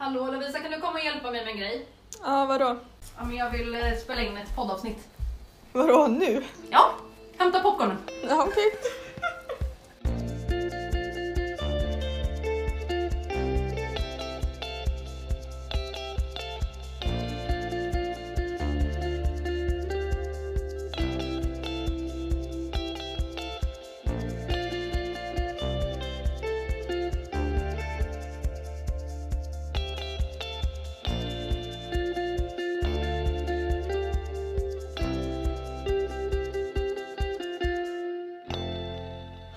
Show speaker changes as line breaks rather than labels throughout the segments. Hallå Lovisa, kan du komma och hjälpa mig med en grej?
Ja, vadå?
Ja, men jag vill eh, spela in ett poddavsnitt.
Vadå nu?
Ja, hämta popcornen.
Ja, okej.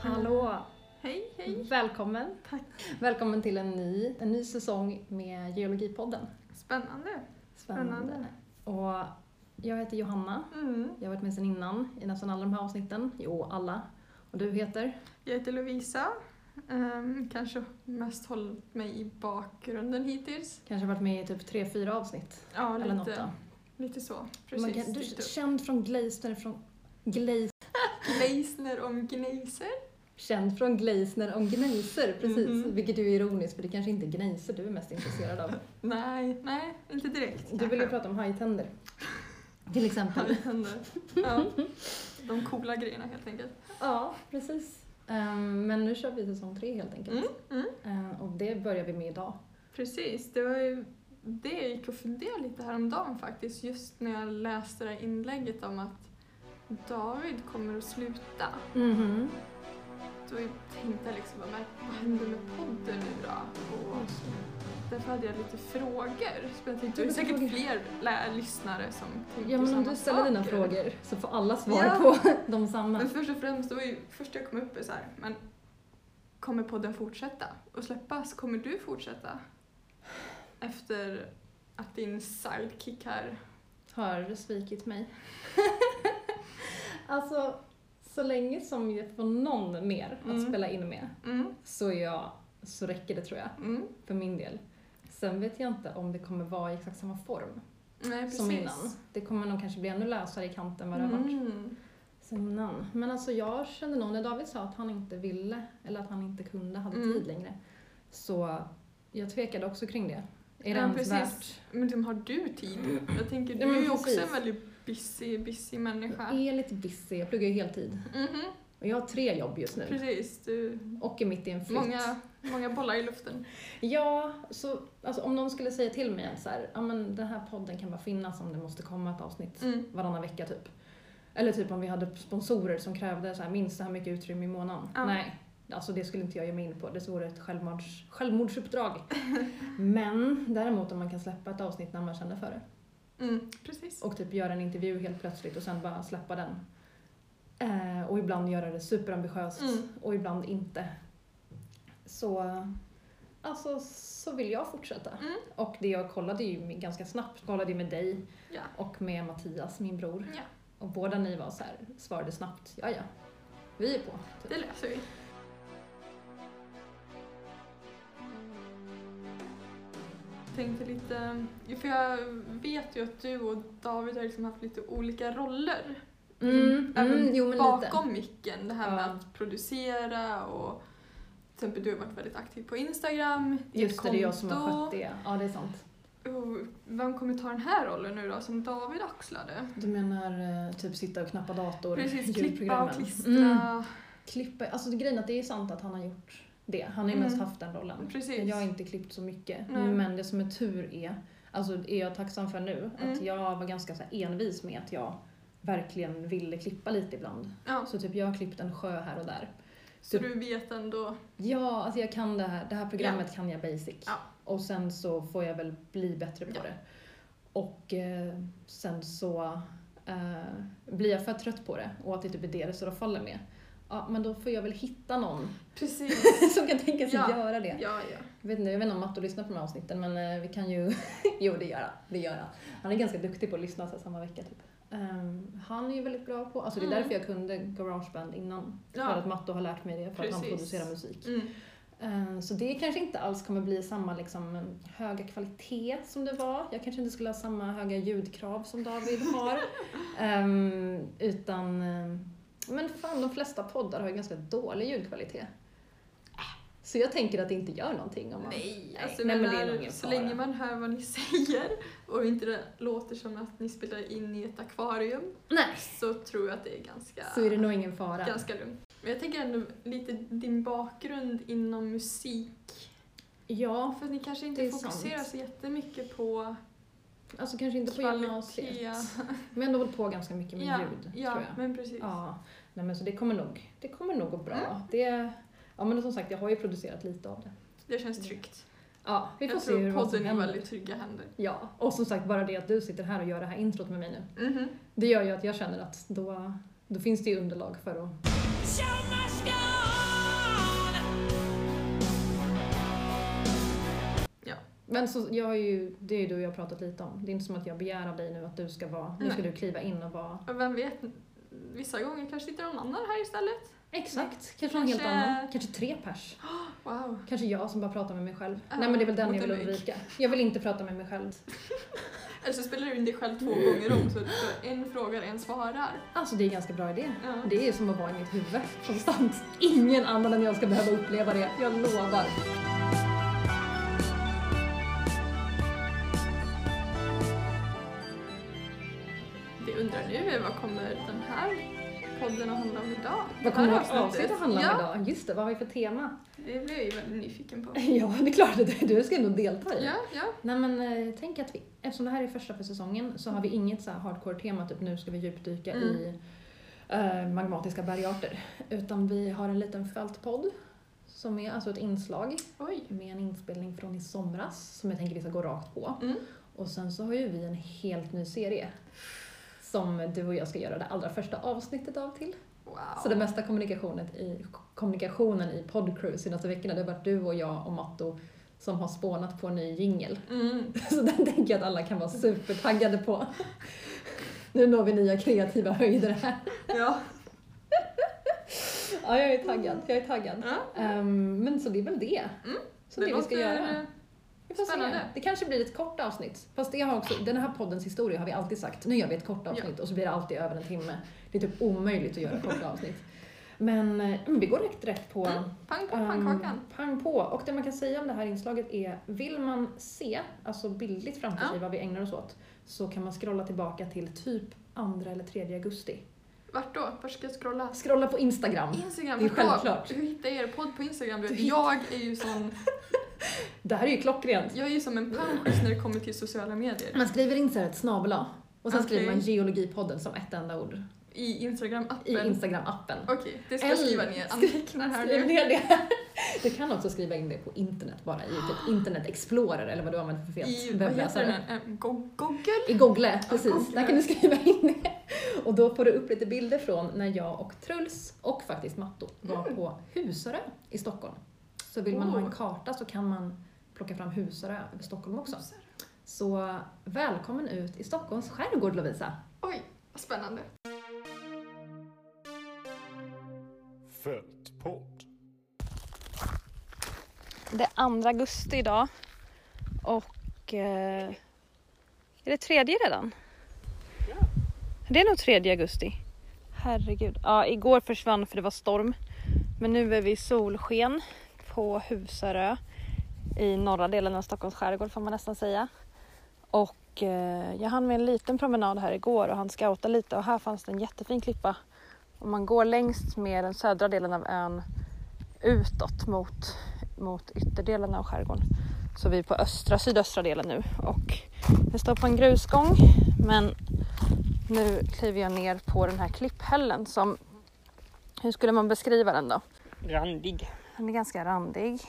Hallå!
Hej, hej.
Välkommen!
Tack.
Välkommen till en ny, en ny säsong med Geologipodden.
Spännande. Spännande.
Och jag heter Johanna.
Mm.
Jag har varit med sedan innan i nästan alla de här avsnitten. Jo, alla. Och du heter?
Jag heter Lovisa. Ehm, kanske mest hållit mig i bakgrunden hittills.
Kanske varit med i typ tre, fyra avsnitt.
Ja,
eller något
lite,
då.
lite så.
Man
Precis. Typ
kan, du
dykt
är
upp.
känd från Gleisner från... Gleis,
Gleisner om Gneiser.
känd från Gleisner om Gneiser, precis.
Mhm.
Vilket ju är ironiskt för det kanske inte är Gneiser du är mest intresserad av.
Nej, nej, inte direkt.
Du vill ju prata om hajtänder. Till exempel.
händer. Ja. De coola grejerna helt enkelt.
ja, precis. Ehm, men nu kör vi säsong tre helt enkelt.
Mm, mm.
Ehm, och det börjar vi med idag.
Precis, det var ju det jag gick och funderade lite häromdagen faktiskt. Just när jag läste det här inlägget om att David kommer att sluta. Mm-hmm.
Mhm.
Då tänkte jag liksom, men vad händer med podden nu då? Och därför hade jag lite frågor. Så jag tänkte, det är säkert
Frågor.
fler lä- lyssnare som tänker
Ja, men om
samma
du ställer dina
saker.
frågor så får alla svar
Ja.
på de samma.
Men först och främst, det var ju först jag kom upp är så här, men kommer podden fortsätta och släppas? Kommer du fortsätta? Efter att din sidekick här,
Har svikit mig. alltså, så länge som jag får någon mer att
Mm.
spela in med
mm,
så, är jag, så räcker det tror jag,
mm,
för min del. Sen vet jag inte om det kommer vara i exakt samma form
nej precis.
som innan. Det kommer nog kanske bli ännu lösare i kanten än vad det har varit.
Mm.
Senan. Men alltså jag kände nog när David sa att han inte ville eller att han inte kunde, hade
Mm.
tid längre. Så jag tvekade också kring det. Är det
Ja,
ens
precis.
värt?
Men liksom, har du tid? Jag tänker,
Ja,
du
men
är ju också
precis. Mm.
en väldigt busy, busy människa.
Jag är lite busy, jag pluggar ju heltid.
Mhm,
Och jag har tre jobb just nu.
Precis, du,
Och är mitt i en flytt.
många, många bollar i luften.
Ja, så alltså, om någon skulle säga till mig att så här, ja, men den här podden kan bara finnas om det måste komma ett avsnitt
Mm.
varannan vecka typ. Eller typ om vi hade sponsorer som krävde så här, minst så här mycket utrymme i månaden.
Ja.
Nej, alltså det skulle inte jag ge mig in på. Det vore ett självmords, självmordsuppdrag. Men däremot om man kan släppa ett avsnitt när man känner för det.
Mm, precis.
Och typ göra en intervju helt plötsligt och sen bara släppa den. Eh, och ibland göra det superambitiöst
Mm.
och ibland inte. Så alltså så vill jag fortsätta.
Mm.
Och det jag kollade ju med- ganska snabbt, kollade ju med dig
Ja.
och med Mattias, min bror.
ja,
Och båda ni var så här, svarade snabbt, ja ja, vi är på. Typ.
det löser vi. Tänkte lite, för jag vet ju att du och David har liksom haft lite olika roller. Liksom,
Mm,
Även
mm, jo men lite.
bakom micken, det här med
Ja.
att producera och till exempel du har varit väldigt aktiv på Instagram, ditt
Just det, det är jag som har
konto.
skött det. Ja det är sant.
Och Vem kommer ta den här rollen nu då, som David axlade?
Du menar eh, typ sitta och knappa dator?
Precis, klippa
ljudprogrammen.
och
Mm.
klistra.
klippa. Alltså det- grejen är att det är sant att han har gjort det. Han har ju
Mm.
mest haft den rollen.
Precis.
Jag har inte klippt så mycket.
Nej.
Men det som är tur är, alltså är jag tacksam för nu, att
Mm.
jag var ganska så här envis med att jag verkligen ville klippa lite ibland.
Ja,
Så typ jag har klippt en sjö här och där.
så du vet ändå.
Ja, alltså jag kan det här, det här programmet kan jag basic.
Ja.
Och sen så får jag väl bli bättre på
Ja.
det. Och eh, sen så eh, blir jag för trött på det och att det typ är det det står och faller med. Ja, men då får jag väl hitta någon
Precis.
som kan tänka sig
Ja.
göra det.
Ja, ja.
Jag vet, inte, jag vet inte om Matto lyssnar på de här avsnitten men eh, vi kan ju... jo det gör han. Det gör han. Han är ganska duktig på att lyssna så här samma vecka typ. Ehm, han är ju väldigt bra på... Alltså det är
Mm.
därför jag kunde Garageband innan. För
ja.
att Matto har lärt mig det för att han
Precis.
producerar musik.
Mm.
Ehm, så det kanske inte alls kommer bli samma liksom, höga kvalitet som det var. Jag kanske inte skulle ha samma höga ljudkrav som David har. Ehm, eh, utan... ehm, men fan, de flesta poddar har ju ganska dålig ljudkvalitet. Så jag tänker att det inte gör någonting om man...
Nej,
Nej,
alltså
nej, men
men
det är
när-
nog ingen
så
fara.
länge man hör vad ni säger och inte det låter som att ni spelar in i ett akvarium
Nej.
så tror jag att det är ganska,
Så är det nog ingen fara.
ganska lugnt. Men jag tänker ändå lite din bakgrund inom musik.
Ja,
För att ni kanske
Det
inte
är
fokuserar
sant.
så jättemycket på
alltså kanske inte på
Kvalitet.
gymnasiet. Men ändå hållit på ganska mycket med ljud,
ja,
tror jag.
men precis.
Ja, nej men så det kommer nog, det kommer nog gå bra.
Mm.
Det, ja men som sagt, jag har ju producerat lite av det.
Det känns tryggt.
Ja, vi får
jag
se hur
tror
vad som
podden är
händer.
väldigt trygga händer.
Ja, och som sagt bara det att du sitter här och gör det här introt med mig nu.
Mhm.
Det gör ju att jag känner att då, då finns det ju underlag för att...
Show must go on.
Men så, jag har ju, det är ju du och jag pratat lite om. Det är inte som att jag begär av dig nu att du ska vara, nu ska du kliva in och vara...
Och vem vet, vissa gånger kanske sitter någon annan här istället.
Exakt, kanske någon helt
Kanske-
annan. Kanske tre pers.
Wow.
Kanske jag som bara pratar med mig själv.
Ja,
Nej men det är väl den jag vill
återblick.
undvika. Jag vill inte prata med mig själv.
Eller så spelar du in dig själv två gånger om så så en frågar, en svarar.
Alltså det är en ganska bra idé.
Ja.
Det är ju som att vara i mitt huvud konstant. Ingen annan än jag ska behöva uppleva det, jag lovar.
Det jag undrar nu är vad kommer den här podden att handla om idag?
Vad kommer
Det här
vårt avsnitt att handla om
ja,
idag? Just det, vad har vi för tema?
Det blev jag ju väldigt nyfiken på.
Ja, det är klart att du- du ska ändå delta i det.
Ja, ja.
Nej men eh, tänk att vi, eftersom det här är första för säsongen så har vi inget så här hardcore tema typ nu ska vi djupdyka
Mm.
i eh, magmatiska bergarter. Utan vi har en liten fältpodd som är alltså ett inslag
Oj.
med en inspelning från i somras som jag tänker vi ska gå rakt på.
Mm.
Och sen så har ju vi en helt ny serie som du och jag ska göra det allra första avsnittet av till.
Wow.
Så det mesta kommunikationen i, kommunikationen i Podcrew senaste veckorna det har varit du och jag och Matto som har spånat på en ny jingel.
Mm.
Så den tänker jag att alla kan vara supertaggade på. Nu når vi nya kreativa höjder här.
Ja.
Ja, jag är taggad. Jag är taggad.
ja.
Ehm, men så det är väl det. Så Mm. det, vi ska göra. Vi får
eh, Spännande.
se. Det kanske blir ett kort avsnitt. Fast det har också, den här poddens historia har vi alltid sagt, nu gör vi ett kort avsnitt och så blir det alltid över en timme. Det är typ omöjligt att göra korta avsnitt. Men eh, men vi går direkt, direkt på
Mm, Pang på
ehm,
pannkakan.
pang på. Och det man kan säga om det här inslaget är, vill man se, alltså bildligt framför
Ja.
sig vad vi ägnar oss åt, så kan man scrolla tillbaka till typ andra eller tredje augusti.
Vart då? Vart ska jag scrolla?
Scrolla på Instagram.
Instagram.
Det är
förstå.
självklart.
Hur hittar jag er podd på Instagram?
Du hitt-
Jag är ju sån...
Det här är ju klockrent.
Jag är ju som en pampers när det kommer till sociala medier.
Man skriver in så här ett snabel A, och sen
Okej.
skriver man geologipodden som ett enda ord
I
i
Instagram-appen.
Instagram-appen.
Okej, det ska jag
Eller-
skriva ner. Anteckna här
Skriv
nu.
ner det. Du kan också skriva in det på internet bara, i typ internet explorer eller vad du använder för
I,
fet
vad heter den?
webbläsare.
här? Eh, Go- Google?
I Google, precis.
Google.
Där kan du skriva in det. Och då får du upp lite bilder från när jag och Truls, och faktiskt Matto, var
Mm.
på Husarö i Stockholm. Så vill man ha en
Oh.
karta så kan man plocka fram Husarö över Stockholm också. Så välkommen ut i Stockholms skärgård Lovisa!
Oj, vad spännande.
Fältpodd.
Det är 2 augusti idag och eh, är det tredje redan? Det är nog tredje augusti. Herregud. Ja, igår försvann för det var storm. Men nu är vi i solsken på Husarö i norra delen av Stockholms skärgård får man nästan säga. Och eh, jag hann med en liten promenad här igår och han scouta lite och här fanns det en jättefin klippa. Om man går längst med den södra delen av ön utåt mot, mot ytterdelen av skärgården. Så vi är på östra, sydöstra delen nu och vi står på en grusgång men nu kliver jag ner på den här klipphällen som, hur skulle man beskriva den då? Randig. Den är ganska randig.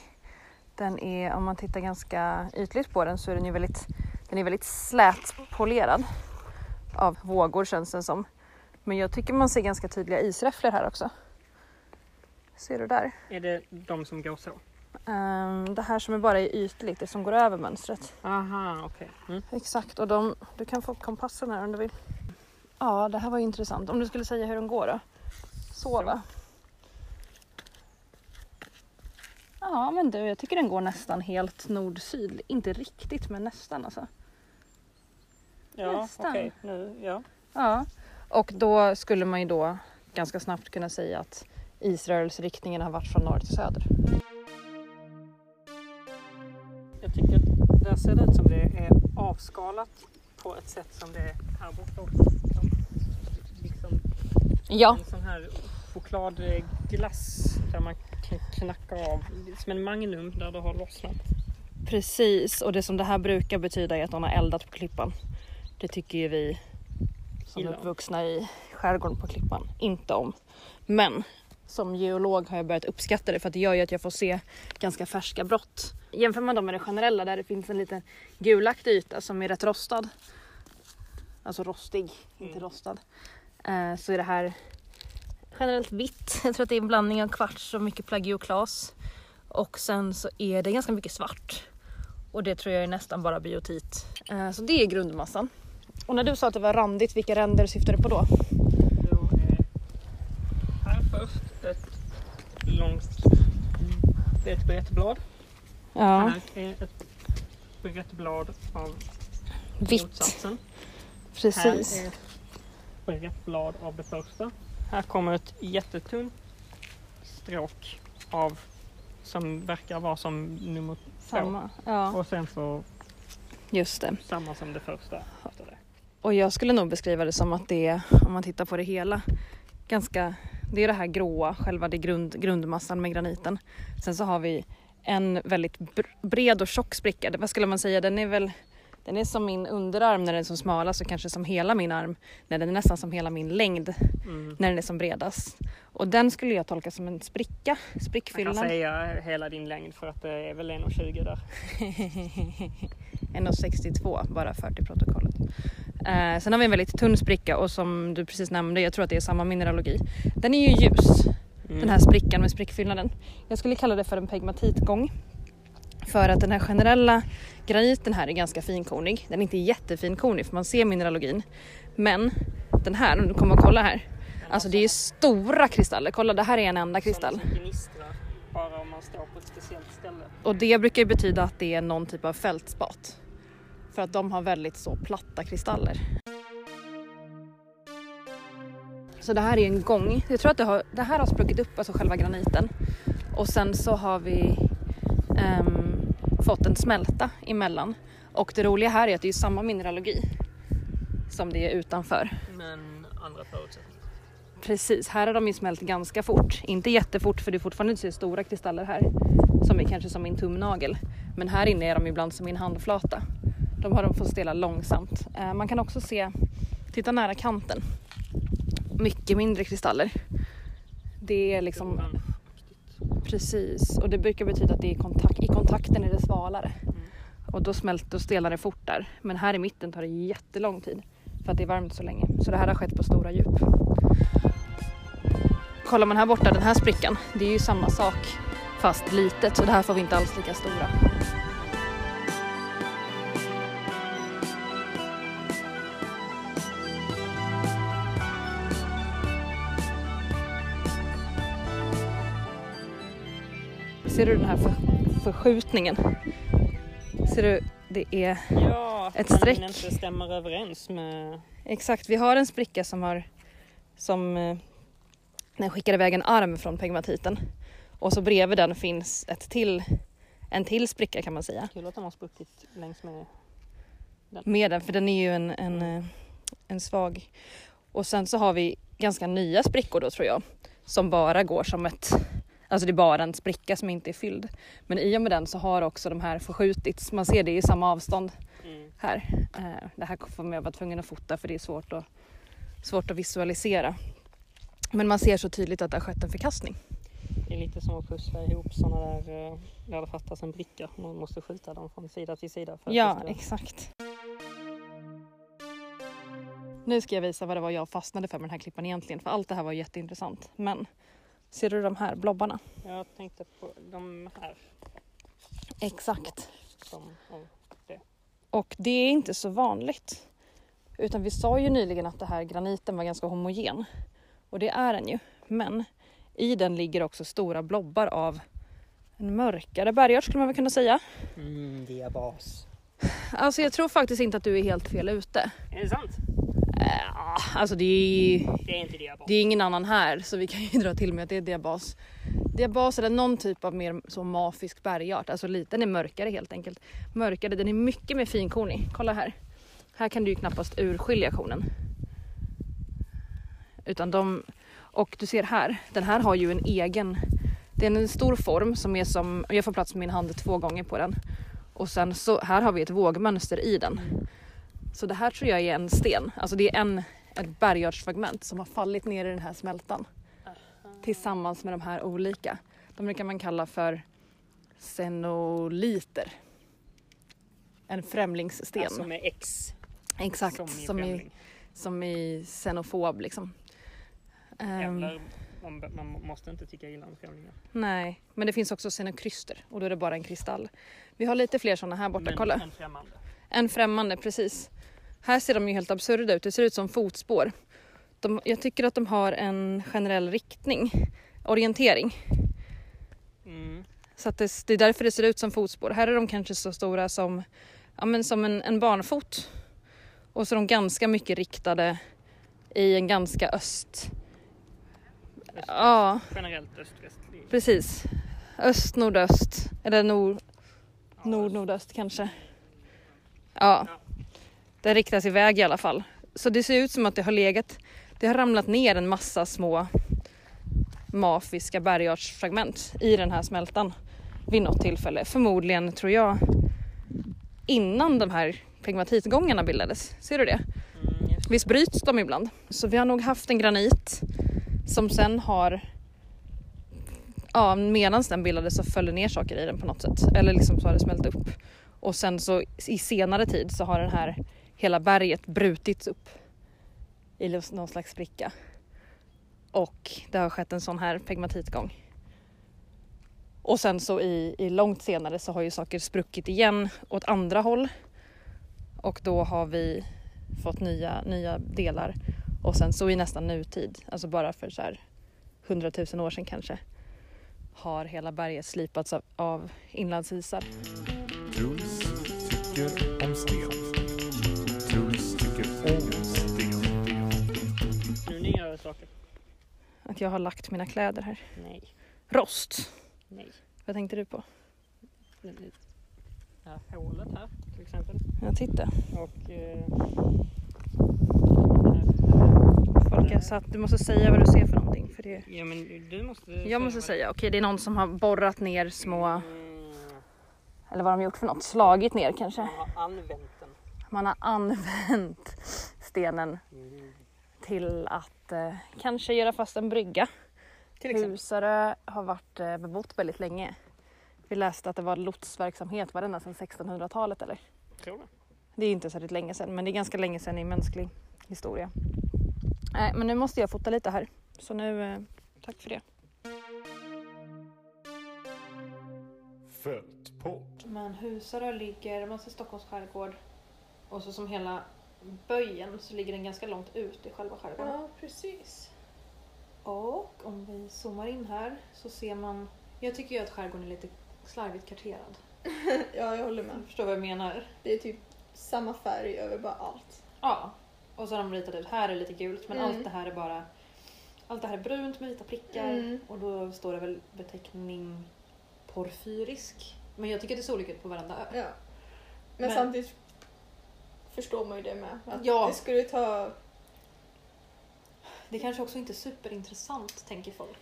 Den är, om man tittar ganska ytligt på den så är den ju väldigt, den är väldigt slätpolerad av vågor känns den som. Men jag tycker man ser ganska tydliga isräfflor här också. Ser du där?
Är det de som gasar då?
Ehm, det här som är bara är ytligt, det som går över mönstret.
Aha, okej. Mm.
Exakt, och de, du kan få kompassen här om du vill. Ja, det här var ju intressant. Om du skulle säga hur de går då? Sova. Ja, men du, jag tycker den går nästan helt nord-syd. Inte riktigt, men nästan alltså.
Ja,
Nästan.
okej. Nu, ja.
Ja, och då skulle man ju då ganska snabbt kunna säga att isrörelseriktningen har varit från norr till söder.
jag tycker där ser det ut som det är avskalat på ett sätt som det är här borta också. Som, liksom
Ja,
en sån här chokladglass där man kan knacka av. Som en Magnum där det har lossnat.
precis. Och det som det här brukar betyda är att någon har eldat på klippan. Det tycker ju vi som är
Illa.
uppvuxna i skärgården på klippan inte om. Men som geolog har jag börjat uppskatta det för att det gör ju att jag får se ganska färska brott. Jämför man dem med det generella där det finns en liten gulaktig yta som är rätt rostad. Alltså rostig, inte
Mm.
rostad. Eh, Så är det här generellt vitt. Jag tror att det är en blandning av kvarts och mycket plagioklas. Och sen så är det ganska mycket svart. Och det tror jag är nästan bara biotit. Eh, Så det är grundmassan. Och när du sa att det var randigt, vilka ränder syftar du på då?
Då är här först ett långt ett betblad.
Ja,
Här är ett baguetteblad av
vitt.
motsatsen.
Precis.
Här är ett baguetteblad av det första. Här kommer ett jättetunt stråk av som verkar vara som nummer
Samma. Ja,
och sen så
just det.
samma som det första efter det.
Och jag skulle nog beskriva det som att det är, om man tittar på det hela, ganska, det är det här gråa, själva det grund, grundmassan med graniten. Sen så har vi en väldigt br- bred och tjock spricka, Det- vad skulle man säga, den är väl den är som min underarm när den är som smalast och kanske som hela min arm. Nej, den är nästan som hela min längd
Mm.
när den är som bredast. Och den skulle jag tolka som en spricka,
Man kan
sprickfyllnad.
säga hela din längd för att det är väl 1,20 där.
1,62 bara för till protokollet. Eh, sen har vi en väldigt tunn spricka och som du precis nämnde, jag tror att det är samma mineralogi. Den är ju ljus, den här sprickan med sprickfyllnaden. Jag skulle kalla det för en pegmatitgång. För att den här generella graniten här är ganska finkornig. Den är inte jättefinkornig för man ser mineralogin. Men den här, om du kommer och kolla här. Alltså det är ju stora kristaller. Kolla det här är en enda kristall.
Som gnistrar bara om man står på ett speciellt ställe.
Och det brukar ju betyda att det är någon typ av fältspat. För att de har väldigt så platta kristaller. Så det här är en gång. Jag tror att det, har, det här har spruckit upp, alltså själva graniten. Och sen så har vi ehm, fått en smälta emellan. Och det roliga här är att det är ju samma mineralogi som det är utanför.
Men andra förutsättningar.
Precis, här har de ju smält ganska fort. Inte jättefort för det är fortfarande inte så stora kristaller här. Som är kanske som min tumnagel. Men här inne är de ibland som min handflata. De har de fått stela långsamt. Eh, Man kan också se, titta nära kanten. Mycket mindre kristaller. Det är liksom precis och det brukar betyda att det är i kontakt, i kontakten är det svalare. Och då smälter och stelar det fort där. Men här i mitten tar det jättelång tid för att det är varmt så länge. Så det här har skett på stora djup. Kollar man här borta, den här sprickan, det är ju samma sak fast litet så det här får vi inte alls lika stora. Ser du den här för, förskjutningen? Ser du, det är
Ja, att
Ett
man
streck.
inte stämmer överens med...
Exakt, vi har en spricka som har som eh, den skickade iväg en arm från pegmatiten och så bredvid den finns ett till, en till spricka kan man säga
Kul att de har spruckit längs med...
med den för den är ju en, en, eh, en svag och sen så har vi ganska nya sprickor då tror jag som bara går som ett Alltså det är bara en spricka som inte är fylld. Men i och med den så har också de här förskjutits. Man ser det i samma avstånd här. Eh, Det här kommer jag vara tvungen att fota för det är svårt att, svårt att visualisera. Men man ser så tydligt att det har skett en förkastning.
Det är lite som att pussla ihop sådana där eh, där det fattas en bricka. Man måste skjuta dem från sida till sida. För att
Ja,
det ska-
exakt. Nu ska jag visa vad det var jag fastnade för med den här klippan egentligen. För allt det här var jätteintressant. Men ser du de här blobbarna?
Jag tänkte på de här.
Exakt.
Som, om-
Och det är inte så vanligt. Utan vi sa ju nyligen att det här graniten var ganska homogen. Och det är den ju. Men i den ligger också stora blobbar av en mörkare bergart skulle man väl kunna säga.
mm, diabas.
Alltså jag tror faktiskt inte att du är helt fel ute.
Är det sant?
Äh, alltså det är ju
Det är inte diabas.
det är ingen annan här så vi kan ju dra till med att det är diabas. Diabas eller någon typ av mer så mafisk bergart, alltså lite, den är mörkare helt enkelt. Mörkare, den är mycket mer finkornig. Kolla här. Här kan du ju knappast urskilja kornen. Utan de, och du ser här, den här har ju en egen, det är en stor form som är som, jag får plats med min hand två gånger på den. Och sen så, här har vi ett vågmönster i den. Så det här tror jag är en sten, alltså det är en, ett bergartsfragment som har fallit ner i den här smältan tillsammans med de här olika. De brukar man kalla för senoliter. En främlingssten.
Alltså med X.
Exakt, som,
i
i,
främling.
som i xenofob liksom. Ehm,
Eller om, man måste inte tycka illa om främlingar.
nej, men det finns också xenokryster och då är det bara en kristall. Vi har lite fler sådana här borta, kolla.
en främmande.
En främmande, precis. Här ser de ju helt absurda ut, det ser ut som fotspår. De, jag tycker att de har en generell riktning, orientering.
Mm.
Så att det, det är därför det ser ut som fotspår. Här är de kanske så stora som, ja, men som en, en barnfot. Och så är de ganska mycket riktade i en ganska öst...
Öst-
Ja,
Generellt öst-västlig.
precis. Öst, nordöst. Eller nord,
Ja,
nord, nordöst kanske. Ja. Den riktas iväg i alla fall. Så det ser ut som att det har legat, det har ramlat ner en massa små mafiska bergartsfragment i den här smältan vid något tillfälle. Förmodligen, tror jag, innan de här pegmatitgångarna bildades. Ser du det?
Mm, just
Visst bryts de ibland? Så vi har nog haft en granit som sen har... Ja, medan den bildades så föll det ner saker i den på något sätt. Eller liksom så har det smält upp. Och sen så i senare tid så har den här hela berget brutits upp i los- någon slags spricka. Och det har skett en sån här pegmatitgång. Och sen så i, i långt senare så har ju saker spruckit igen åt andra håll. Och då har vi fått nya, nya delar och sen så i nästan nutid, alltså bara för så här 100 000 år sedan kanske, har hela berget slipats av, av inlandsisar.
Truls tycker om sten. Truls tycker om sten.
det. Nu nyare saker.
Att jag har lagt mina kläder här.
Nej,
Rost!
nej.
Vad tänkte du på?
Det här hålet här till exempel.
Jag titta.
Och... Eh,
Folk
Mm.
har satt, du måste säga vad du ser för någonting. För det...
ja men du måste...
Jag måste
vad-
säga, okej det är någon som har borrat ner små,
Mm,
eller vad de gjort för något, slagit ner kanske.
man har använt den.
Man har använt stenen
Mm.
till att eh, kanske göra fast en brygga.
Till exempel.
Husarö har varit eh, bebott väldigt länge. Vi läste att det var lotsverksamhet, var det ända sedan 1600-talet eller?
Tror du?
Det är inte särskilt länge sedan, men det är ganska länge sedan i mänsklig historia. Nej, men nu måste jag fota lite här. Så nu, eh, tack för det.
Fältpodd.
Men Husarö ligger, man ser Stockholms skärgård och så som hela böjen så ligger den ganska långt ut i själva skärgården.
Ja, precis.
Och om vi zoomar in här så ser man, jag tycker ju att skärgården är lite slarvigt karterad.
Ja, jag håller med.
Du förstår vad jag menar?
Det är typ samma färg över bara allt.
Ja, och så har de ritat ut, här är lite gult men
Mm.
allt det här är bara allt det här är brunt med vita prickar
Mm.
och då står det väl beteckning porfyrisk. Men jag tycker det ser olika ut på varenda ö.
Ja. Men,
Men-
samtidigt förstår man ju det med. Att
Ja.
Det skulle ta...
Det kanske också inte är superintressant tänker folk.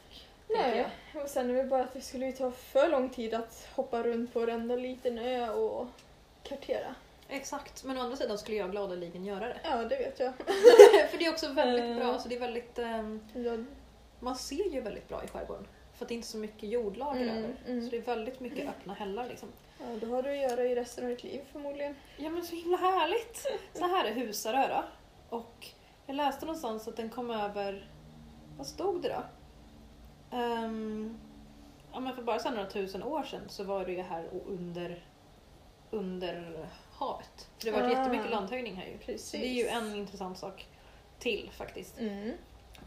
tänker
Nej.
jag.
Och sen är det bara att det skulle ju ta för lång tid att hoppa runt på varenda liten ö och kartera.
Exakt, men å andra sidan skulle jag gladeligen göra det. Eh.
Ja, det vet jag.
För det är också väldigt bra, så det är väldigt, ehm,
Jag
man ser ju väldigt bra i skärgården. För att det är inte så mycket jordlager
Mm,
över.
mm.
Så det är väldigt mycket öppna hällar liksom.
Ja, då har du att göra i resten av ditt liv förmodligen.
Ja men så himla härligt! Så här är Husarö då. Och jag läste någonstans att den kom över, vad stod det då? Ehm, ja men för bara så här några tusen år sedan så var det ju här och under, under havet. För det har varit
Ah.
jättemycket landhöjning här ju.
Precis.
Så det är ju en intressant sak till faktiskt.
Mm.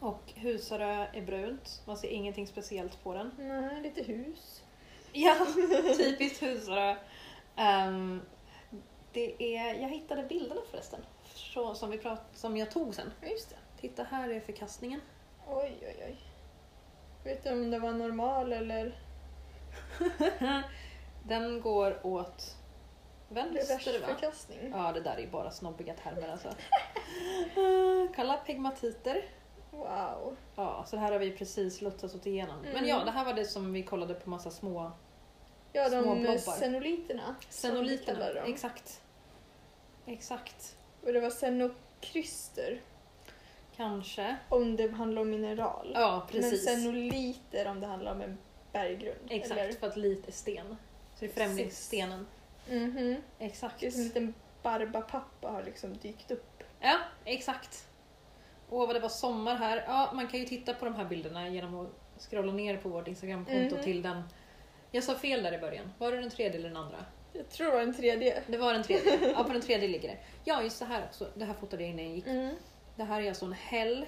Och Husarö är brunt, man ser ingenting speciellt på den.
Nej, lite hus.
Ja, typiskt Husarö. Ehm, det är, jag hittade bilderna förresten, så, som, vi prat, som jag tog sen.
Ja, just det.
Titta, här är förkastningen.
Oj, oj, oj. Vet du om det var normal eller?
Den går åt vänster va?
Reversförkastning.
Ja, det där är ju bara snobbiga termer alltså. Eh, Kalla pegmatiter.
Wow.
Ja, så det här har vi precis lotsat oss igenom. Men
Mm.
ja, det här var det som vi kollade på massa små
Ja,
Små
de
blobbar.
eh, senoliterna. som vi
senoliterna.
kallar dem.
Exakt. Exakt.
Och det var senokryster
Kanske.
om det handlar om mineral.
Ja,
Men
precis.
senoliter om det handlar om en berggrund.
Exakt,
Eller?
för att lit är sten. Så det är främlingsstenen.
Mhm.
Exakt.
Det är som en liten barbapappa har liksom dykt upp.
Ja, exakt. Åh, vad det var sommar här. Ja, man kan ju titta på de här bilderna genom att scrolla ner på vårt Instagramkonto
Mhm.
till den. Jag sa fel där i början. Var det den tredje eller den andra?
Jag tror det var en tredje.
Det var den tredje. Ja, på den tredje ligger det. Ja, just det här också. Det här fotade jag innan jag gick.
Mm.
Det här är alltså en häll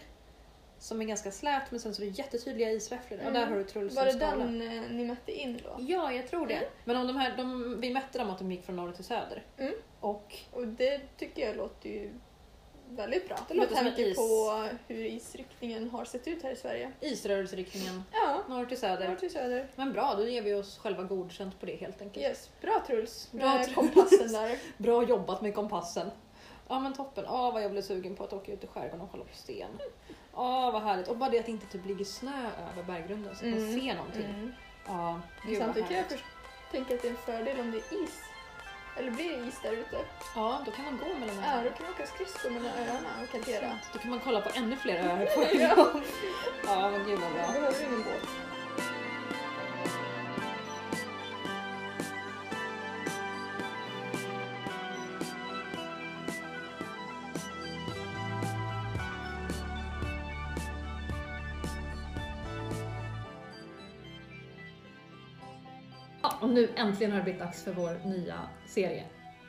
som är ganska slät men sen så är det jättetydliga isräfflor. Ja, där har du Truls
Mm. Var det
skala.
den eh, ni mätte in då?
Ja, jag tror det.
Mm.
Men om de här, de, vi mätte dem att de gick från norr till söder.
Mm.
Och
Och det tycker jag låter ju väldigt bra.
Det
med
låter som
tanke
en is.
på hur isryckningen har sett ut här i Sverige.
isrörelseriktningen
Ja,
norr till söder.
norr till söder.
Men bra, då ger vi oss själva godkänt på det helt enkelt.
Yes. Bra Truls
Bra,
med
Truls.
kompassen där.
Bra jobbat med kompassen. Ja men toppen. Åh vad jag blev sugen på att åka ut i skärgården och kolla på sten. Åh vad härligt. Och bara det att det inte typ ligger snö över berggrunden så att man
Mm.
ser någonting.
Mm.
Ja, gud vad
Samtidigt kan jag
härligt.
först tänka att det är en fördel om det är is. Eller blir det is där ute?
Ja, då kan man gå mellan
Ja, då kan man åka skridskor mellan öarna och kantera.
Då kan man kolla på ännu fler öar på en gång. Ja men gud vad
Jag
bra.
behöver ingen båt.
Ja, och nu äntligen har det blivit dags för vår nya serie.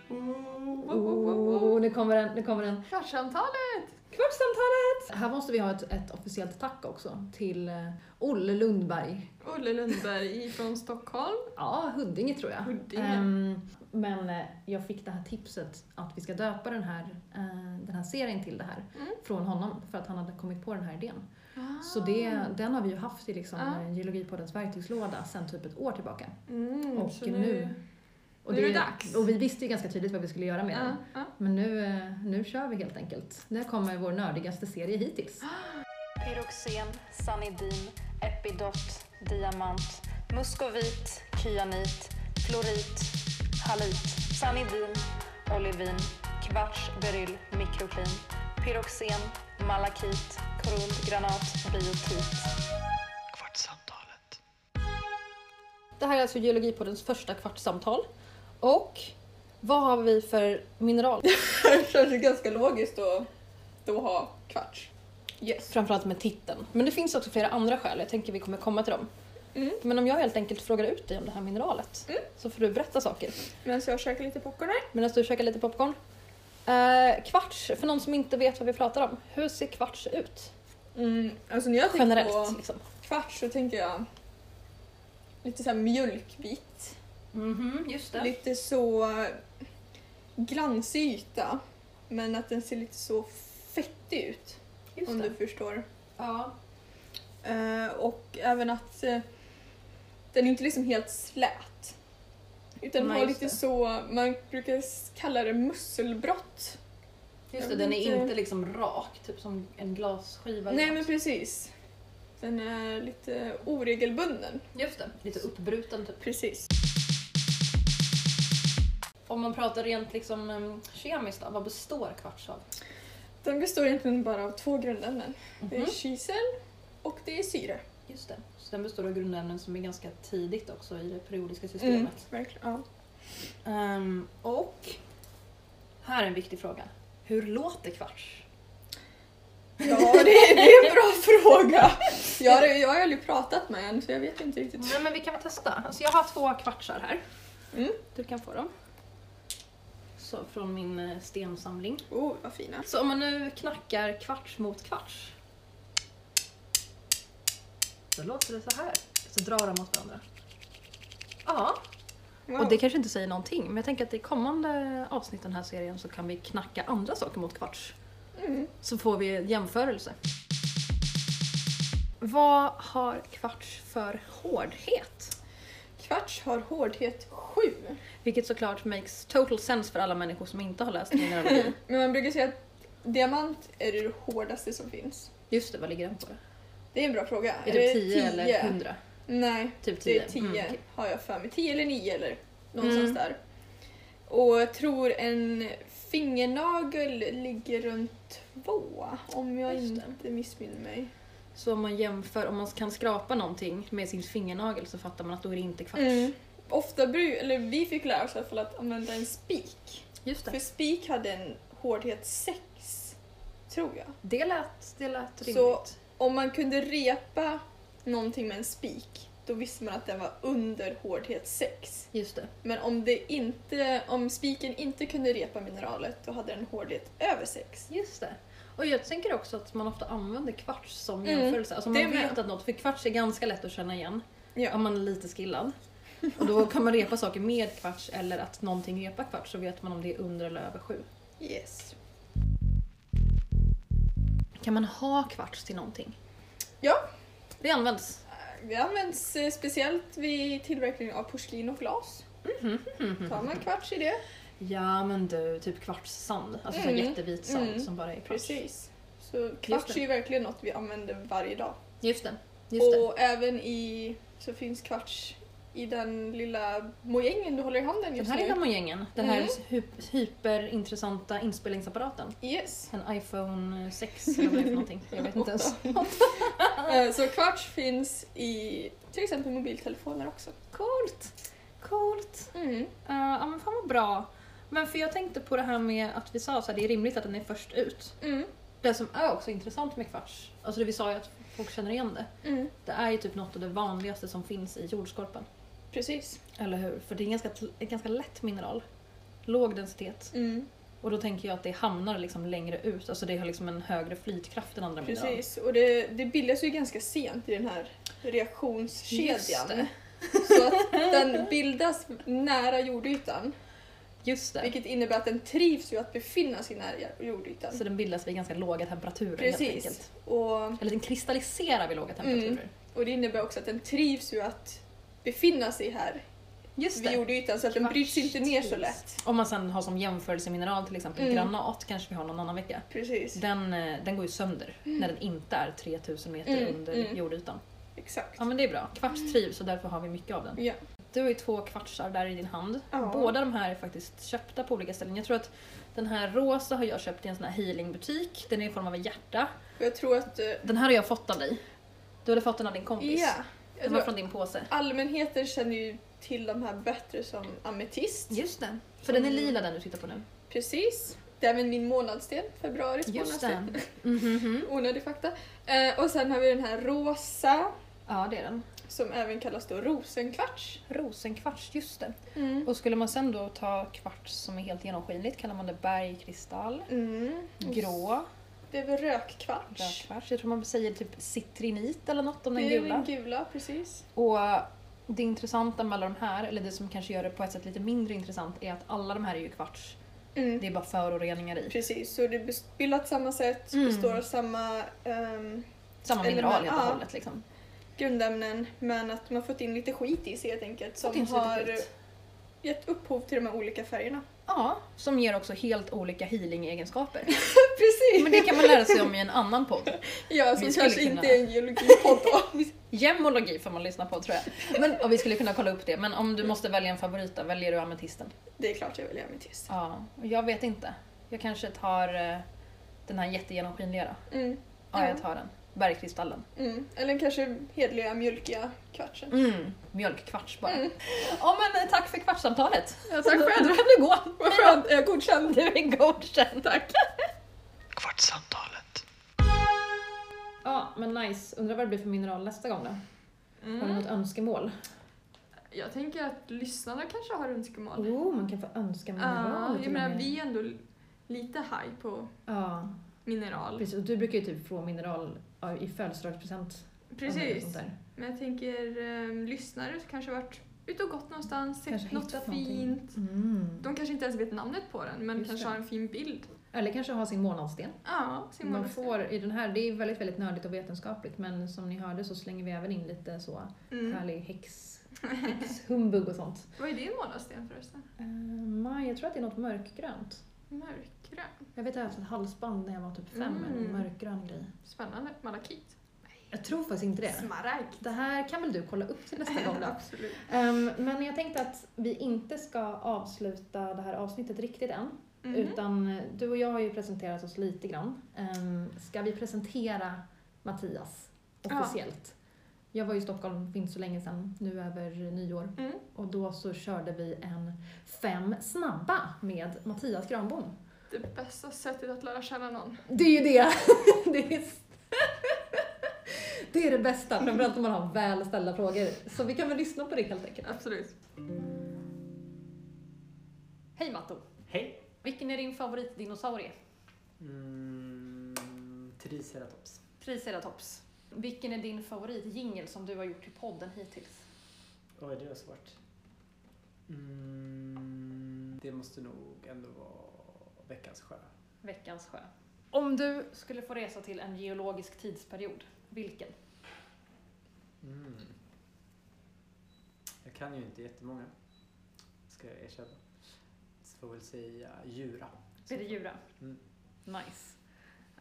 Wow, wow, wow, wow.
Oh, nu kommer den, nu kommer den.
Kvartssamtalet!
Kvartssamtalet! Här måste vi ha ett, ett officiellt tack också till eh, Olle Lundberg.
Olle Lundberg från Stockholm.
Ja, Huddinge tror jag.
Huddinge.
Ehm, men eh, jag fick det här tipset att vi ska döpa den här, eh, den här serien till det här
Mm. Ah.
från honom för att han hade kommit på den här idén. Så det, den har vi ju haft i liksom,
Ja.
eh, Geologipoddens verktygslåda sedan typ ett år tillbaka.
Mm,
och
så
nu- Och
nu är det dags. Ah.
Och vi visste ju ganska tydligt vad vi skulle göra med den.
Ja, ja.
Men nu, eh, nu kör vi helt enkelt. Nu kommer vår nördigaste serie hittills.
Pyroxen, Sanidin, Epidot, Diamant, Muskovit, Kyanit, Florit, Halit, Sanidin, Olivin, Kvarts, Beryl, Mikroklin, Pyroxen, Malakit, Korundgranat, Biotit.
Det här är alltså Geologipoddens första kvartssamtal. Och vad har vi för mineral?
Det känns ganska logiskt att då ha kvarts. Yes.
Framförallt med titeln. Men det finns också flera andra skäl. Jag tänker vi kommer komma till dem.
Mm.
Men om jag helt enkelt frågar ut dig om det här mineralet så får du berätta saker.
Medan jag käkar lite popcorn här.
Medan du käkar lite popcorn. Eh, kvarts, för någon som inte vet vad vi pratar om. Hur ser kvarts ut?
Mm, alltså när jag tänker
Generellt
på
liksom.
kvarts så tänker jag lite så här mjölkvit.
just
Lite så glansig yta. Men att den ser lite så fettig ut. om du förstår.
Ja.
Eh, och även att eh, den är inte liksom helt slät. Utan
Nej,
har
just
lite
det.
så, man brukar s- kalla det musselbrott.
Just det,
Jag
den är
vet inte.
inte liksom rak, typ som en glasskiva. eller
Nej
något.
men precis. Den är lite oregelbunden.
Just det, lite uppbruten typ.
Precis.
Om man pratar rent liksom em, kemiskt då, vad består kvarts av?
Den består egentligen bara av två grundämnen. Det är
Mhm.
kisel och det är syre.
Just det. Så den består av grundämnen som är ganska tidigt också i det periodiska
Mm,
systemet.
verkligen. Ja.
Ehm, och här är en viktig fråga. Hur låter kvarts?
ja, det är, det är en bra fråga. Jag har, jag har aldrig pratat med en så jag vet inte riktigt.
Nej men vi kan väl testa. Alltså jag har två kvartsar här.
Mm.
Du kan få dem. Så, från min eh, stensamling.
Oh, vad fina.
Så om man nu knackar kvarts mot kvarts. Då låter det så här. Så drar de mot varandra. Ja,
Wow.
och det kanske inte säger någonting men jag tänker att i kommande avsnitt i den här serien så kan vi knacka andra saker mot kvarts.
Mm.
Så får vi en jämförelse. Vad har kvarts för hårdhet?
Kvarts har hårdhet 7.
Vilket såklart makes total sense för alla människor som inte har läst mineralogi.
Men man brukar säga att diamant är det hårdaste som finns.
Just det, vad ligger den på då?
Det är en bra fråga.
Är det 10 eller 100?
Nej,
Typ 10.
det är 10
okej.
har jag för mig. 10 eller 9 eller någonstans
Mm.
där. Och jag tror en fingernagel ligger runt 2 om jag
Just det.
inte missminner mig.
Så om man jämför, om man kan skrapa någonting med sin fingernagel så fattar man att då är det inte kvarts.
Mm. Ofta bru- eller vi fick lära oss i alla fall att använda en spik.
Just
För
det.
spik hade en hårdhet 6, tror jag.
Det lät, det lät rimligt.
Så- Om man kunde repa någonting med en spik, då visste man att den var under hårdhet 6.
Just det.
Men om, det inte, om spiken inte kunde repa mineralet, då hade den hårdhet över 6.
Just det. Och jag tänker också att man ofta använder kvarts som
Mm,
jämförelse. Alltså man
det
vet
med.
att något, för kvarts är ganska lätt att känna igen om
Ja.
man är lite skillad. Och då kan man repa saker med kvarts eller att någonting repar kvarts så vet man om det är under eller över sju.
Yes.
Kan man ha kvarts till någonting?
Ja.
Det används.
Det används eh, speciellt vid tillverkning av porslin och glas.
Mm-hmm.
Tar man kvarts i det?
Ja men du, typ kvartssand. Alltså så här
Mm.
jättevit sand
Mm.
som bara är kvarts.
Precis. Så kvarts är ju verkligen något vi använder varje dag.
Just det. Just det.
och även i så finns kvarts i den lilla mojängen du håller i handen
Den
just
här
nu.
lilla mojängen, den här
Mm.
hy- hyperintressanta inspelningsapparaten.
Yes.
En iPhone 6 eller vad det är för någonting. Jag vet inte ens. Ah.
Eh, Så kvarts finns i till exempel mobiltelefoner också.
Coolt! Coolt! Eh,
Mm.
ja men fan vad bra. Men för jag tänkte på det här med Eh, att vi sa att det är rimligt att den är först ut.
Mm.
Det som är också intressant med kvarts, alltså det vi sa ju att folk känner igen det.
Mm.
Det är ju typ något av det vanligaste som finns i jordskorpan.
Precis.
Eller hur? För det är en ganska, ett ganska lätt mineral. Låg densitet.
Mm.
Och då tänker jag att det hamnar liksom längre ut, alltså det har liksom en högre flytkraft än andra mineral.
Precis. Och det, det bildas ju ganska sent i den här
Just
reaktionskedjan.
det.
Så att den bildas nära jordytan.
Just det.
Vilket innebär att den trivs ju att befinna sig nära jordytan.
Så den bildas vid ganska låga temperaturer helt
Precis.
enkelt.
Och
Eller den kristalliserar vid låga temperaturer.
Mm. Och det innebär också att den trivs ju att befinna sig här
Just
vid
det.
jordytan så att den bryts inte ner så lätt.
Om man sen har som jämförelsemineral till exempel
Mm.
granat kanske vi har någon annan vecka.
Precis,
Den, eh, den går ju sönder när den inte är 3000 meter
Mm,
under
mm.
jordytan.
exakt.
Ja men det är bra. Kvarts trivs och därför har vi mycket av den.
Ja.
Du har ju två kvartsar där i din hand.
Ja.
Båda de här är faktiskt köpta på olika ställen. Jag tror att den här rosa har jag köpt i en sån här healingbutik. Den är i form av ett hjärta.
Och jag tror att... eh,
Den här har jag fått av dig. Du hade fått den av din kompis.
Ja. Jag
Den var
tror,
från din påse.
allmänheten känner ju till de här bättre som ametist.
Just det. För den är lila den du tittar på nu.
Precis. Det är även min månadssten, februaris
Just
månadssten.
det. Mhm.
Onödig fakta. Eh, och sen har vi den här rosa,
Ja det är den.
som även kallas då rosenkvarts.
Rosenkvarts, just det.
Mm.
Och skulle man sen då ta kvarts som är helt genomskinligt kallar man det bergkristall,
Mm.
grå,
Det är väl rökkvarts?
rödkvarts. Jag tror man säger typ citrinit eller något om den
Det är väl
gula.
den gula, precis.
Och det intressanta med alla de här, eller det som kanske gör det på ett sätt lite mindre intressant, är att alla de här är ju kvarts.
Mm.
Det är bara föroreningar i.
Precis, så det är bes- bildat samma sätt,
Mm.
består av samma ehm,
Samma
Eller
mineral
men-
helt och
ja.
hållet liksom.
grundämnen men att man fått in lite skit i sig helt enkelt
Det är
som
inte så
har
roligt.
gett upphov till de här olika färgerna.
Ja, som ger också helt olika healing-egenskaper.
Precis!
Men det kan man lära sig om i en annan podd.
ja,
vi
som
skulle
kanske
kunna-
inte är en geologipodd då.
Gemmologi får man lyssna på tror jag. Men, och vi skulle kunna kolla upp det, men om du måste välja en favorit då, väljer du ametisten?
Det är klart jag väljer ametist.
Ja, och jag vet inte. Jag kanske tar eh, den här jättegenomskinliga då.
Mm,
Ja,
Ja.
jag tar den. Bergkristallen.
mm. Eller kanske hedliga mjölkiga kvartsen.
Mm. Mjölkkvarts bara.
Mm.
Ja men eh, tack för kvartssamtalet.
Ja, tack
Nu
själv!
kan du gå.
Vad skönt, jag är godkänd!
Du är godkänd. Tack.
Kvartssamtalet.
Ja men nice. Undrar vad det blir för mineral nästa gång då? Har du något önskemål?
Mm. Jag tänker att lyssnarna kanske har önskemål.
Oh, man kan få önska mineral
Ja,
till
jag
och
menar
med.
vi är ändå lite high på
Ja,
mineral.
precis. Och du brukar ju typ få mineral ja, i födelsedagspresent. av mig och sånt
Precis.
där.
Men jag tänker um, lyssnare som kanske varit ute och gått någonstans, sett
Kanske
något
hittat
fint.
någonting. Mm.
De kanske inte ens vet namnet på den men
Just
kanske
det.
har en fin bild.
Eller kanske ha sin månadssten.
Ja, sin
Man
månadssten.
får i den här, det är väldigt, väldigt nördigt och vetenskapligt men som ni hörde så slänger vi även in lite så
Mm.
härlig häx, häxhumbug och sånt.
Vad är din månadssten förresten?
Uh, maj, jag tror att det är något mörkgrönt.
Mörkgrön.
Jag vet att jag har haft ett halsband när jag var typ fem,
Mm.
en mörkgrön grej.
Spännande. Malakit.
Jag tror faktiskt inte det.
Smaragd.
Det här kan väl du kolla upp till nästa gång då?
Absolut.
Ehm, men jag tänkte att vi inte ska avsluta det här avsnittet riktigt än.
Mhm.
Utan eh, du och jag har ju presenterat oss lite grann. Um, ska vi presentera Mattias
Ja.
officiellt? Jag var ju i Stockholm för inte så länge sedan, nu över nyår.
Mm.
Och då så körde vi en fem snabba med Mattias Granbom.
Det bästa sättet att lära känna någon.
Det är ju det! det, är... det är det bästa, framförallt om man har väl ställda frågor. Så vi kan väl lyssna på det helt enkelt.
Absolut.
Hej Matto!
Hej!
Vilken är din favoritdinosaurie?
Mm, triceratops.
Triceratops. Vilken är din favoritjingel som du har gjort till podden hittills?
Oj, det var svårt. Mm, det måste nog ändå vara veckans sjö.
Veckans sjö. Om du skulle få resa till en geologisk tidsperiod, vilken?
Mm. Jag kan ju inte jättemånga, ska jag erkänna. Så får väl säga djura.
Blir det Djura?
Mm.
Nice.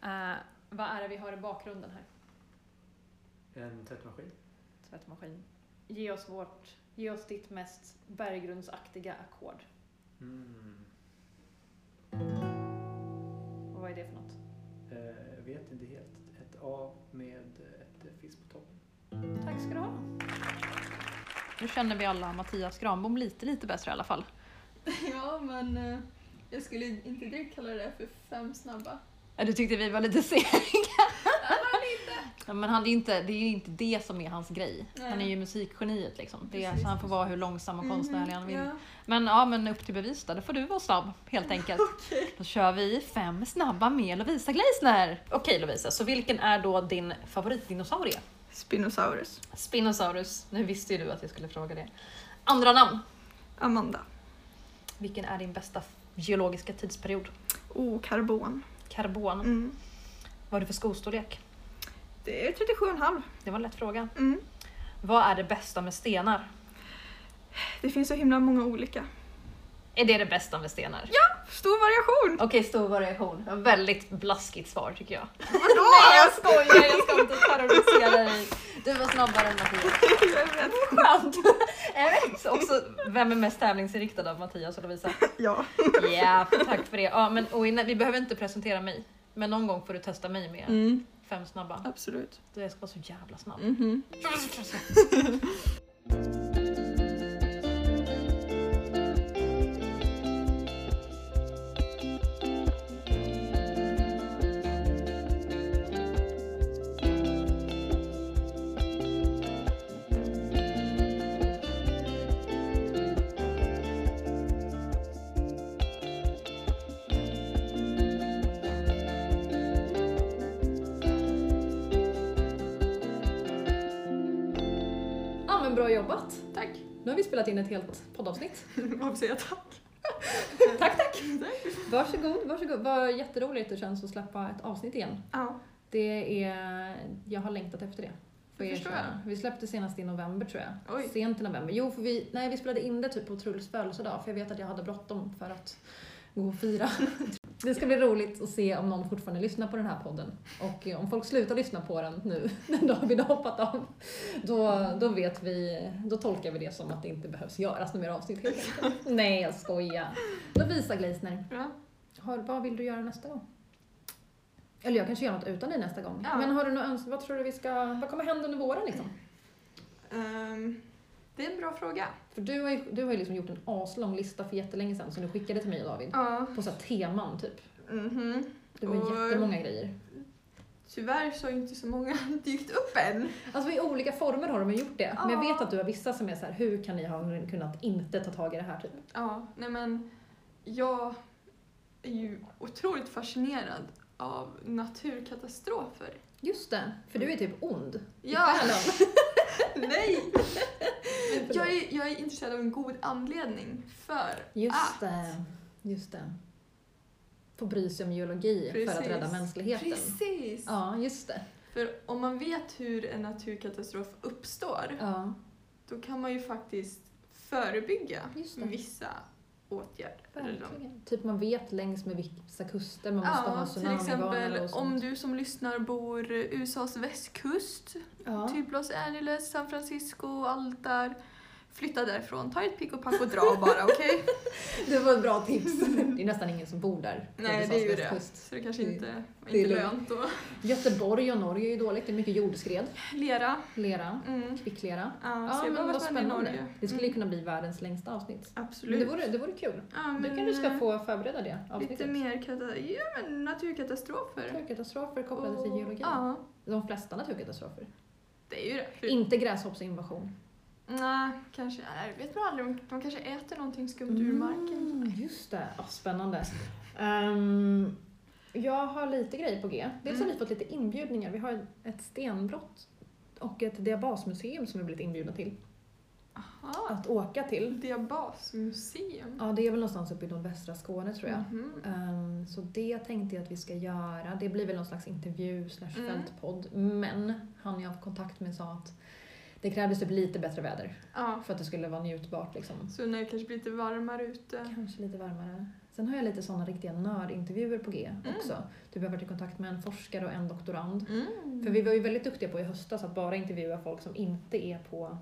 Eh, vad är det vi har i bakgrunden här?
En tvättmaskin.
Tvättmaskin. Ge oss, vårt, ge oss ditt mest berggrundsaktiga ackord.
Mm.
Och vad är det för något?
Eh, vet inte helt. Ett A med ett fisk på toppen.
Tack ska du ha. Nu känner vi alla Mattias Granbom lite, lite bättre i alla fall.
Ja, men eh, jag skulle inte direkt kalla det för fem snabba.
Ja, Du tyckte vi var lite sega. Ja, men han är inte, det är ju inte det som är hans grej.
Nej.
Han är ju musikgeniet liksom. Det är,
Precis.
så han får vara hur långsam och konstnärlig han vill.
Mhm, Ja.
Men ja, men upp till bevis då. Då får du vara snabb helt enkelt. Då kör vi fem snabba med Lovisa Gleisner. Okej Lovisa, så vilken är då din favoritdinosaurie?
Spinosaurus.
Spinosaurus. Nu visste ju du att jag skulle fråga det. Andra namn.
Amanda.
Vilken är din bästa geologiska tidsperiod?
Oh, karbon.
Karbon.
Mm.
Vad är det för skostorlek?
Det är 37,5.
Det var en lätt fråga.
Mm.
Vad är det bästa med stenar?
Det finns så himla många olika.
Är det det bästa med stenar?
Stor variation!
Okej, stor variation. En Väldigt blaskigt svar tycker jag.
Vadå?
Nej, jag skojar! Jag ska inte terrorisera dig. Du var snabbare än Mattias.
Jag vet.
Skönt! Jag vet också vem är mest tävlingsinriktad av Mattias och Lovisa?
Ja.
Ja, tack för det. Ja, men, och innan, vi behöver inte presentera mig, men någon gång får du testa mig med
Mm.
fem snabba.
Absolut.
Jag ska vara så jävla snabb.
Mhm.
Ja, men bra jobbat!
Tack.
Nu har vi spelat in ett helt poddavsnitt.
Vad säger jag tack?
Tack, tack! Varsågod, varsågod. Vad jätteroligt det känns att släppa ett avsnitt igen.
Ja.
Det är, jag har längtat efter det. Får
Det
jag
förstår
erkänna. Vi släppte senast i november tror jag.
Oj.
Sent i november. Jo, för vi, nej, vi spelade in det typ på Truls födelsedag för jag vet att jag hade bråttom för att gå och fira. Det ska bli roligt att se om någon fortfarande lyssnar på den här podden. Och eh, om folk slutar lyssna på den nu, den dag vi har hoppat av, då, då vet vi, då tolkar vi det som att det inte behövs göras några mer avsnitt helt enkelt. Nej, jag skojar. Lovisa Gleisner,
Ja.
har, vad vill du göra nästa gång? Eller jag kanske gör något utan dig nästa gång.
Ja.
Men har du något önskemål? Vad tror du vi ska... Vad kommer hända under våren liksom?
Ehm, det är en bra fråga.
För du har ju, du har ju liksom gjort en aslång lista för jättelänge sedan som du skickade till mig och David.
Ja.
På så här teman typ.
Mhm.
Det var
Och-
jättemånga grejer.
Tyvärr så har inte så många dykt upp än.
Alltså i olika former har de ju gjort det. Men jag
Ja.
vet att du har vissa som är så här, hur kan ni ha kunnat inte ta tag i det här typ?
Ja, nej men jag är ju otroligt fascinerad av naturkatastrofer.
Just det, för du är typ ond.
Ja,
Eller?
nej! Men jag, är, jag är Ah. intresserad av en god anledning för
Just
att
det. Just det. få bry sig om geologi för att
Precis.
rädda mänskligheten.
Precis!
Ja, just det.
För om man vet hur en naturkatastrof uppstår,
Ja,
då kan man ju faktiskt förebygga
Just det.
vissa åtgärder. eller de-
verkligen. Typ man vet längs med vissa kuster man måste ha
Ja, till
tsunamivarnare
exempel
och sånt.
om du som lyssnar bor eh, USAs västkust,
ja.
typ Los Angeles, San Francisco, allt där. Flytta därifrån, ta ett pick och pack och dra bara, okej?
Det var ett bra tips. Det är nästan ingen som bor där. på
Nej,
USAs
det är ju det.
västkust.
Så det kanske
Det-
inte,
det är
inte
lugnt.
lönt då.
Göteborg och Norge är ju dåligt. Det är mycket jordskred,
Lera.
lera,
Mm.
kvicklera.
Ja,
Ja,
så jag
men
behöver
vad
varit med i
spännande.
Norge.
Det skulle ju
Mm.
kunna bli världens längsta avsnitt. Men
Absolut.
det vore, det vore kul.
ja, men,
Du kanske ska
eh,
få förbereda det
Lite
avsnittet.
mer kata- ja, men naturkatastrofer.
Naturkatastrofer kopplade till
Och-
geologi.
Ja,
De flesta naturkatastrofer.
det är ju det. För-
Inte gräshoppsinvasion.
Nej, kanske. Nej, vet man aldrig. De- De kanske äter någonting skumt ur marken.
Mm, just det. Ja, spännande. Ehm, jag har lite grejer på G. Dels har
Mm.
vi fått lite inbjudningar. Vi har ett stenbrott och ett diabasmuseum som vi blivit inbjudna till.
Jaha.
Att åka till.
Diabasmuseum.
Ja, det är väl någonstans uppe i nordvästra Skåne tror jag.
Mhm.
Ehm, så det tänkte jag att vi ska göra. Det blir väl någon slags intervju slash
Mm.
fältpodd. Men han jag har kontakt med sa att det krävdes typ lite bättre väder
Ja,
för att det skulle vara njutbart liksom.
så när det kanske blir lite varmare ute.
Kanske lite varmare. Sen har jag lite sådana riktiga nördintervjuer på G också. Typ jag har varit i kontakt med en forskare och en doktorand.
Mm.
För vi var ju väldigt duktiga på i höstas att bara intervjua folk som inte är på,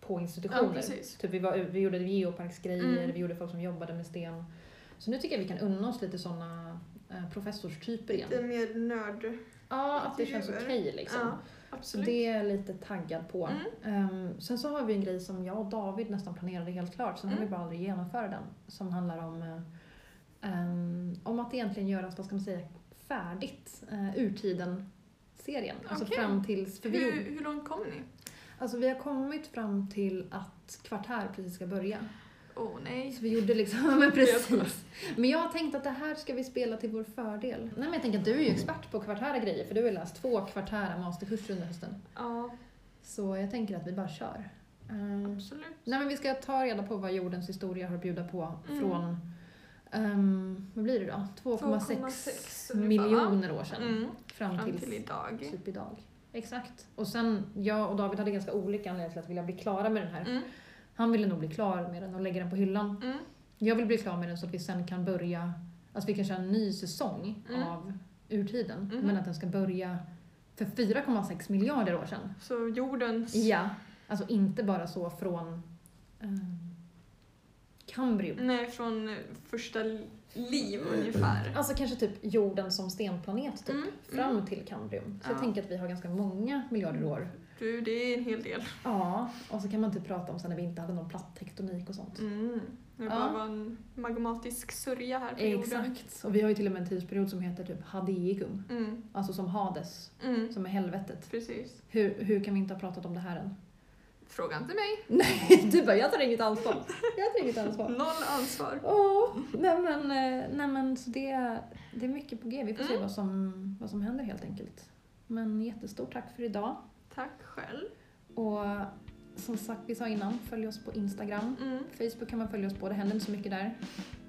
på
Ja,
institutioner.
precis.
Typ vi, var, vi gjorde geoparksgrejer,
Mm.
vi gjorde folk som jobbade med sten. Så nu tycker jag vi kan unna oss lite sådana eh, professorstyper igen.
Lite mer nörd.
ja, att det känns okej
intervjuer.
liksom.
Ja,
så
absolut.
det är jag lite taggad på.
Mm.
Ehm, sen så har vi en grej som jag och David nästan planerade helt klart, sen har
Mm.
vi bara aldrig genomfört den. Som handlar om, eh, ehm, om att egentligen göra, vad ska man säga, färdigt uh, urtiden-serien. Alltså
Okej.
fram tills... För vi,
Hur,
gjorde-
hur långt kom ni?
alltså vi har kommit fram till att kvartär precis ska börja.
Åh oh, nej.
Så vi gjorde liksom, men
Jag
precis. Men jag har tänkt att det här ska vi spela till vår fördel. Nej men jag tänker att du är ju expert på kvartära grejer för du har ju läst två kvartära masterkurser under hösten.
Ja,
Så jag tänker att vi bara kör. Ehm,
absolut.
nej men vi ska ta reda på vad jordens historia har att bjuda på
Mm.
från, ehm, vad blir det då?
2,6
2,6
ungefär, va?
miljoner år sedan.
Mm.
Fram
Fram till
till
idag.
typ idag. Exakt. Och sen, jag och David hade ganska olika anledningar till att vilja bli klara med den här.
Mm.
Han ville nog bli klar med den och lägga den på hyllan.
Mm.
Jag vill bli klar med den så att vi sen kan börja, alltså vi kan köra en ny säsong
Mm.
av urtiden.
Mhm.
Men att den ska börja för 4,6 miljarder år sedan.
Så jordens...
Ja. Alltså inte bara så från eh, Kambrium.
Nej, från eh, första liv ungefär.
Alltså kanske typ jorden som stenplanet typ.
Mm,
Fram till Kambrium. Så jag
Ja.
tänker att vi har ganska många miljarder år.
Du, det är en hel del.
Ja, och så kan man typ prata om sen när vi inte hade någon platttektonik och sånt.
Mm. Det
Ja.
bara var en magmatisk sörja här på jorden.
Exakt. Och vi har ju till och med en tidsperiod som heter typ Hadeikum.
Mm.
Alltså som Hades,
Mm.
som är helvetet.
Precis.
Hur, hur kan vi inte ha pratat om det här än?
Fråga inte mig.
Nej, du bara jag tar inget ansvar. Jag tar inget ansvar.
Noll ansvar.
Åh, nej men, eh, nej men så det, det är mycket på G. Vi får se
Mm.
vad som, vad som händer helt enkelt. Men jättestort tack för idag.
Tack själv.
Och som sagt, vi sa innan, följ oss på Instagram.
Mm.
Facebook kan man följa oss på, det händer inte så mycket där.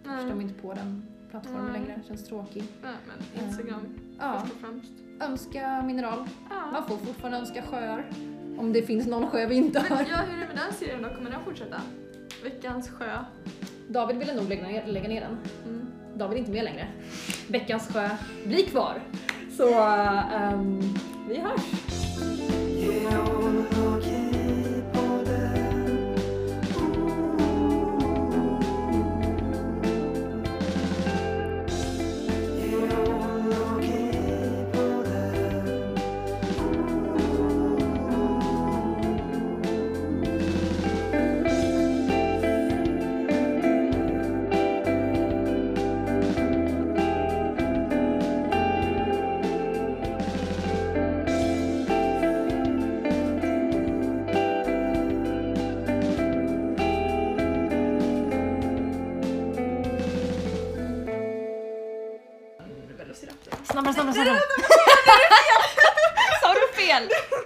Jag förstår mig inte på den plattformen
Nej.
längre, känns tråkig.
Nej, men Instagram
Ja,
först och främst.
önska mineral.
Ja.
Man får fortfarande önska sjöar. Om det finns någon sjö vi inte har.
Men ja, hur är det med den serien då? Kommer den fortsätta? Veckans sjö.
David ville nog lägga ner, lägga ner den.
Mm.
David är inte med längre. Veckans sjö blir kvar. Så ehm, vi hörs!
Snabbare, snabbare, snabbare. Sa du fel?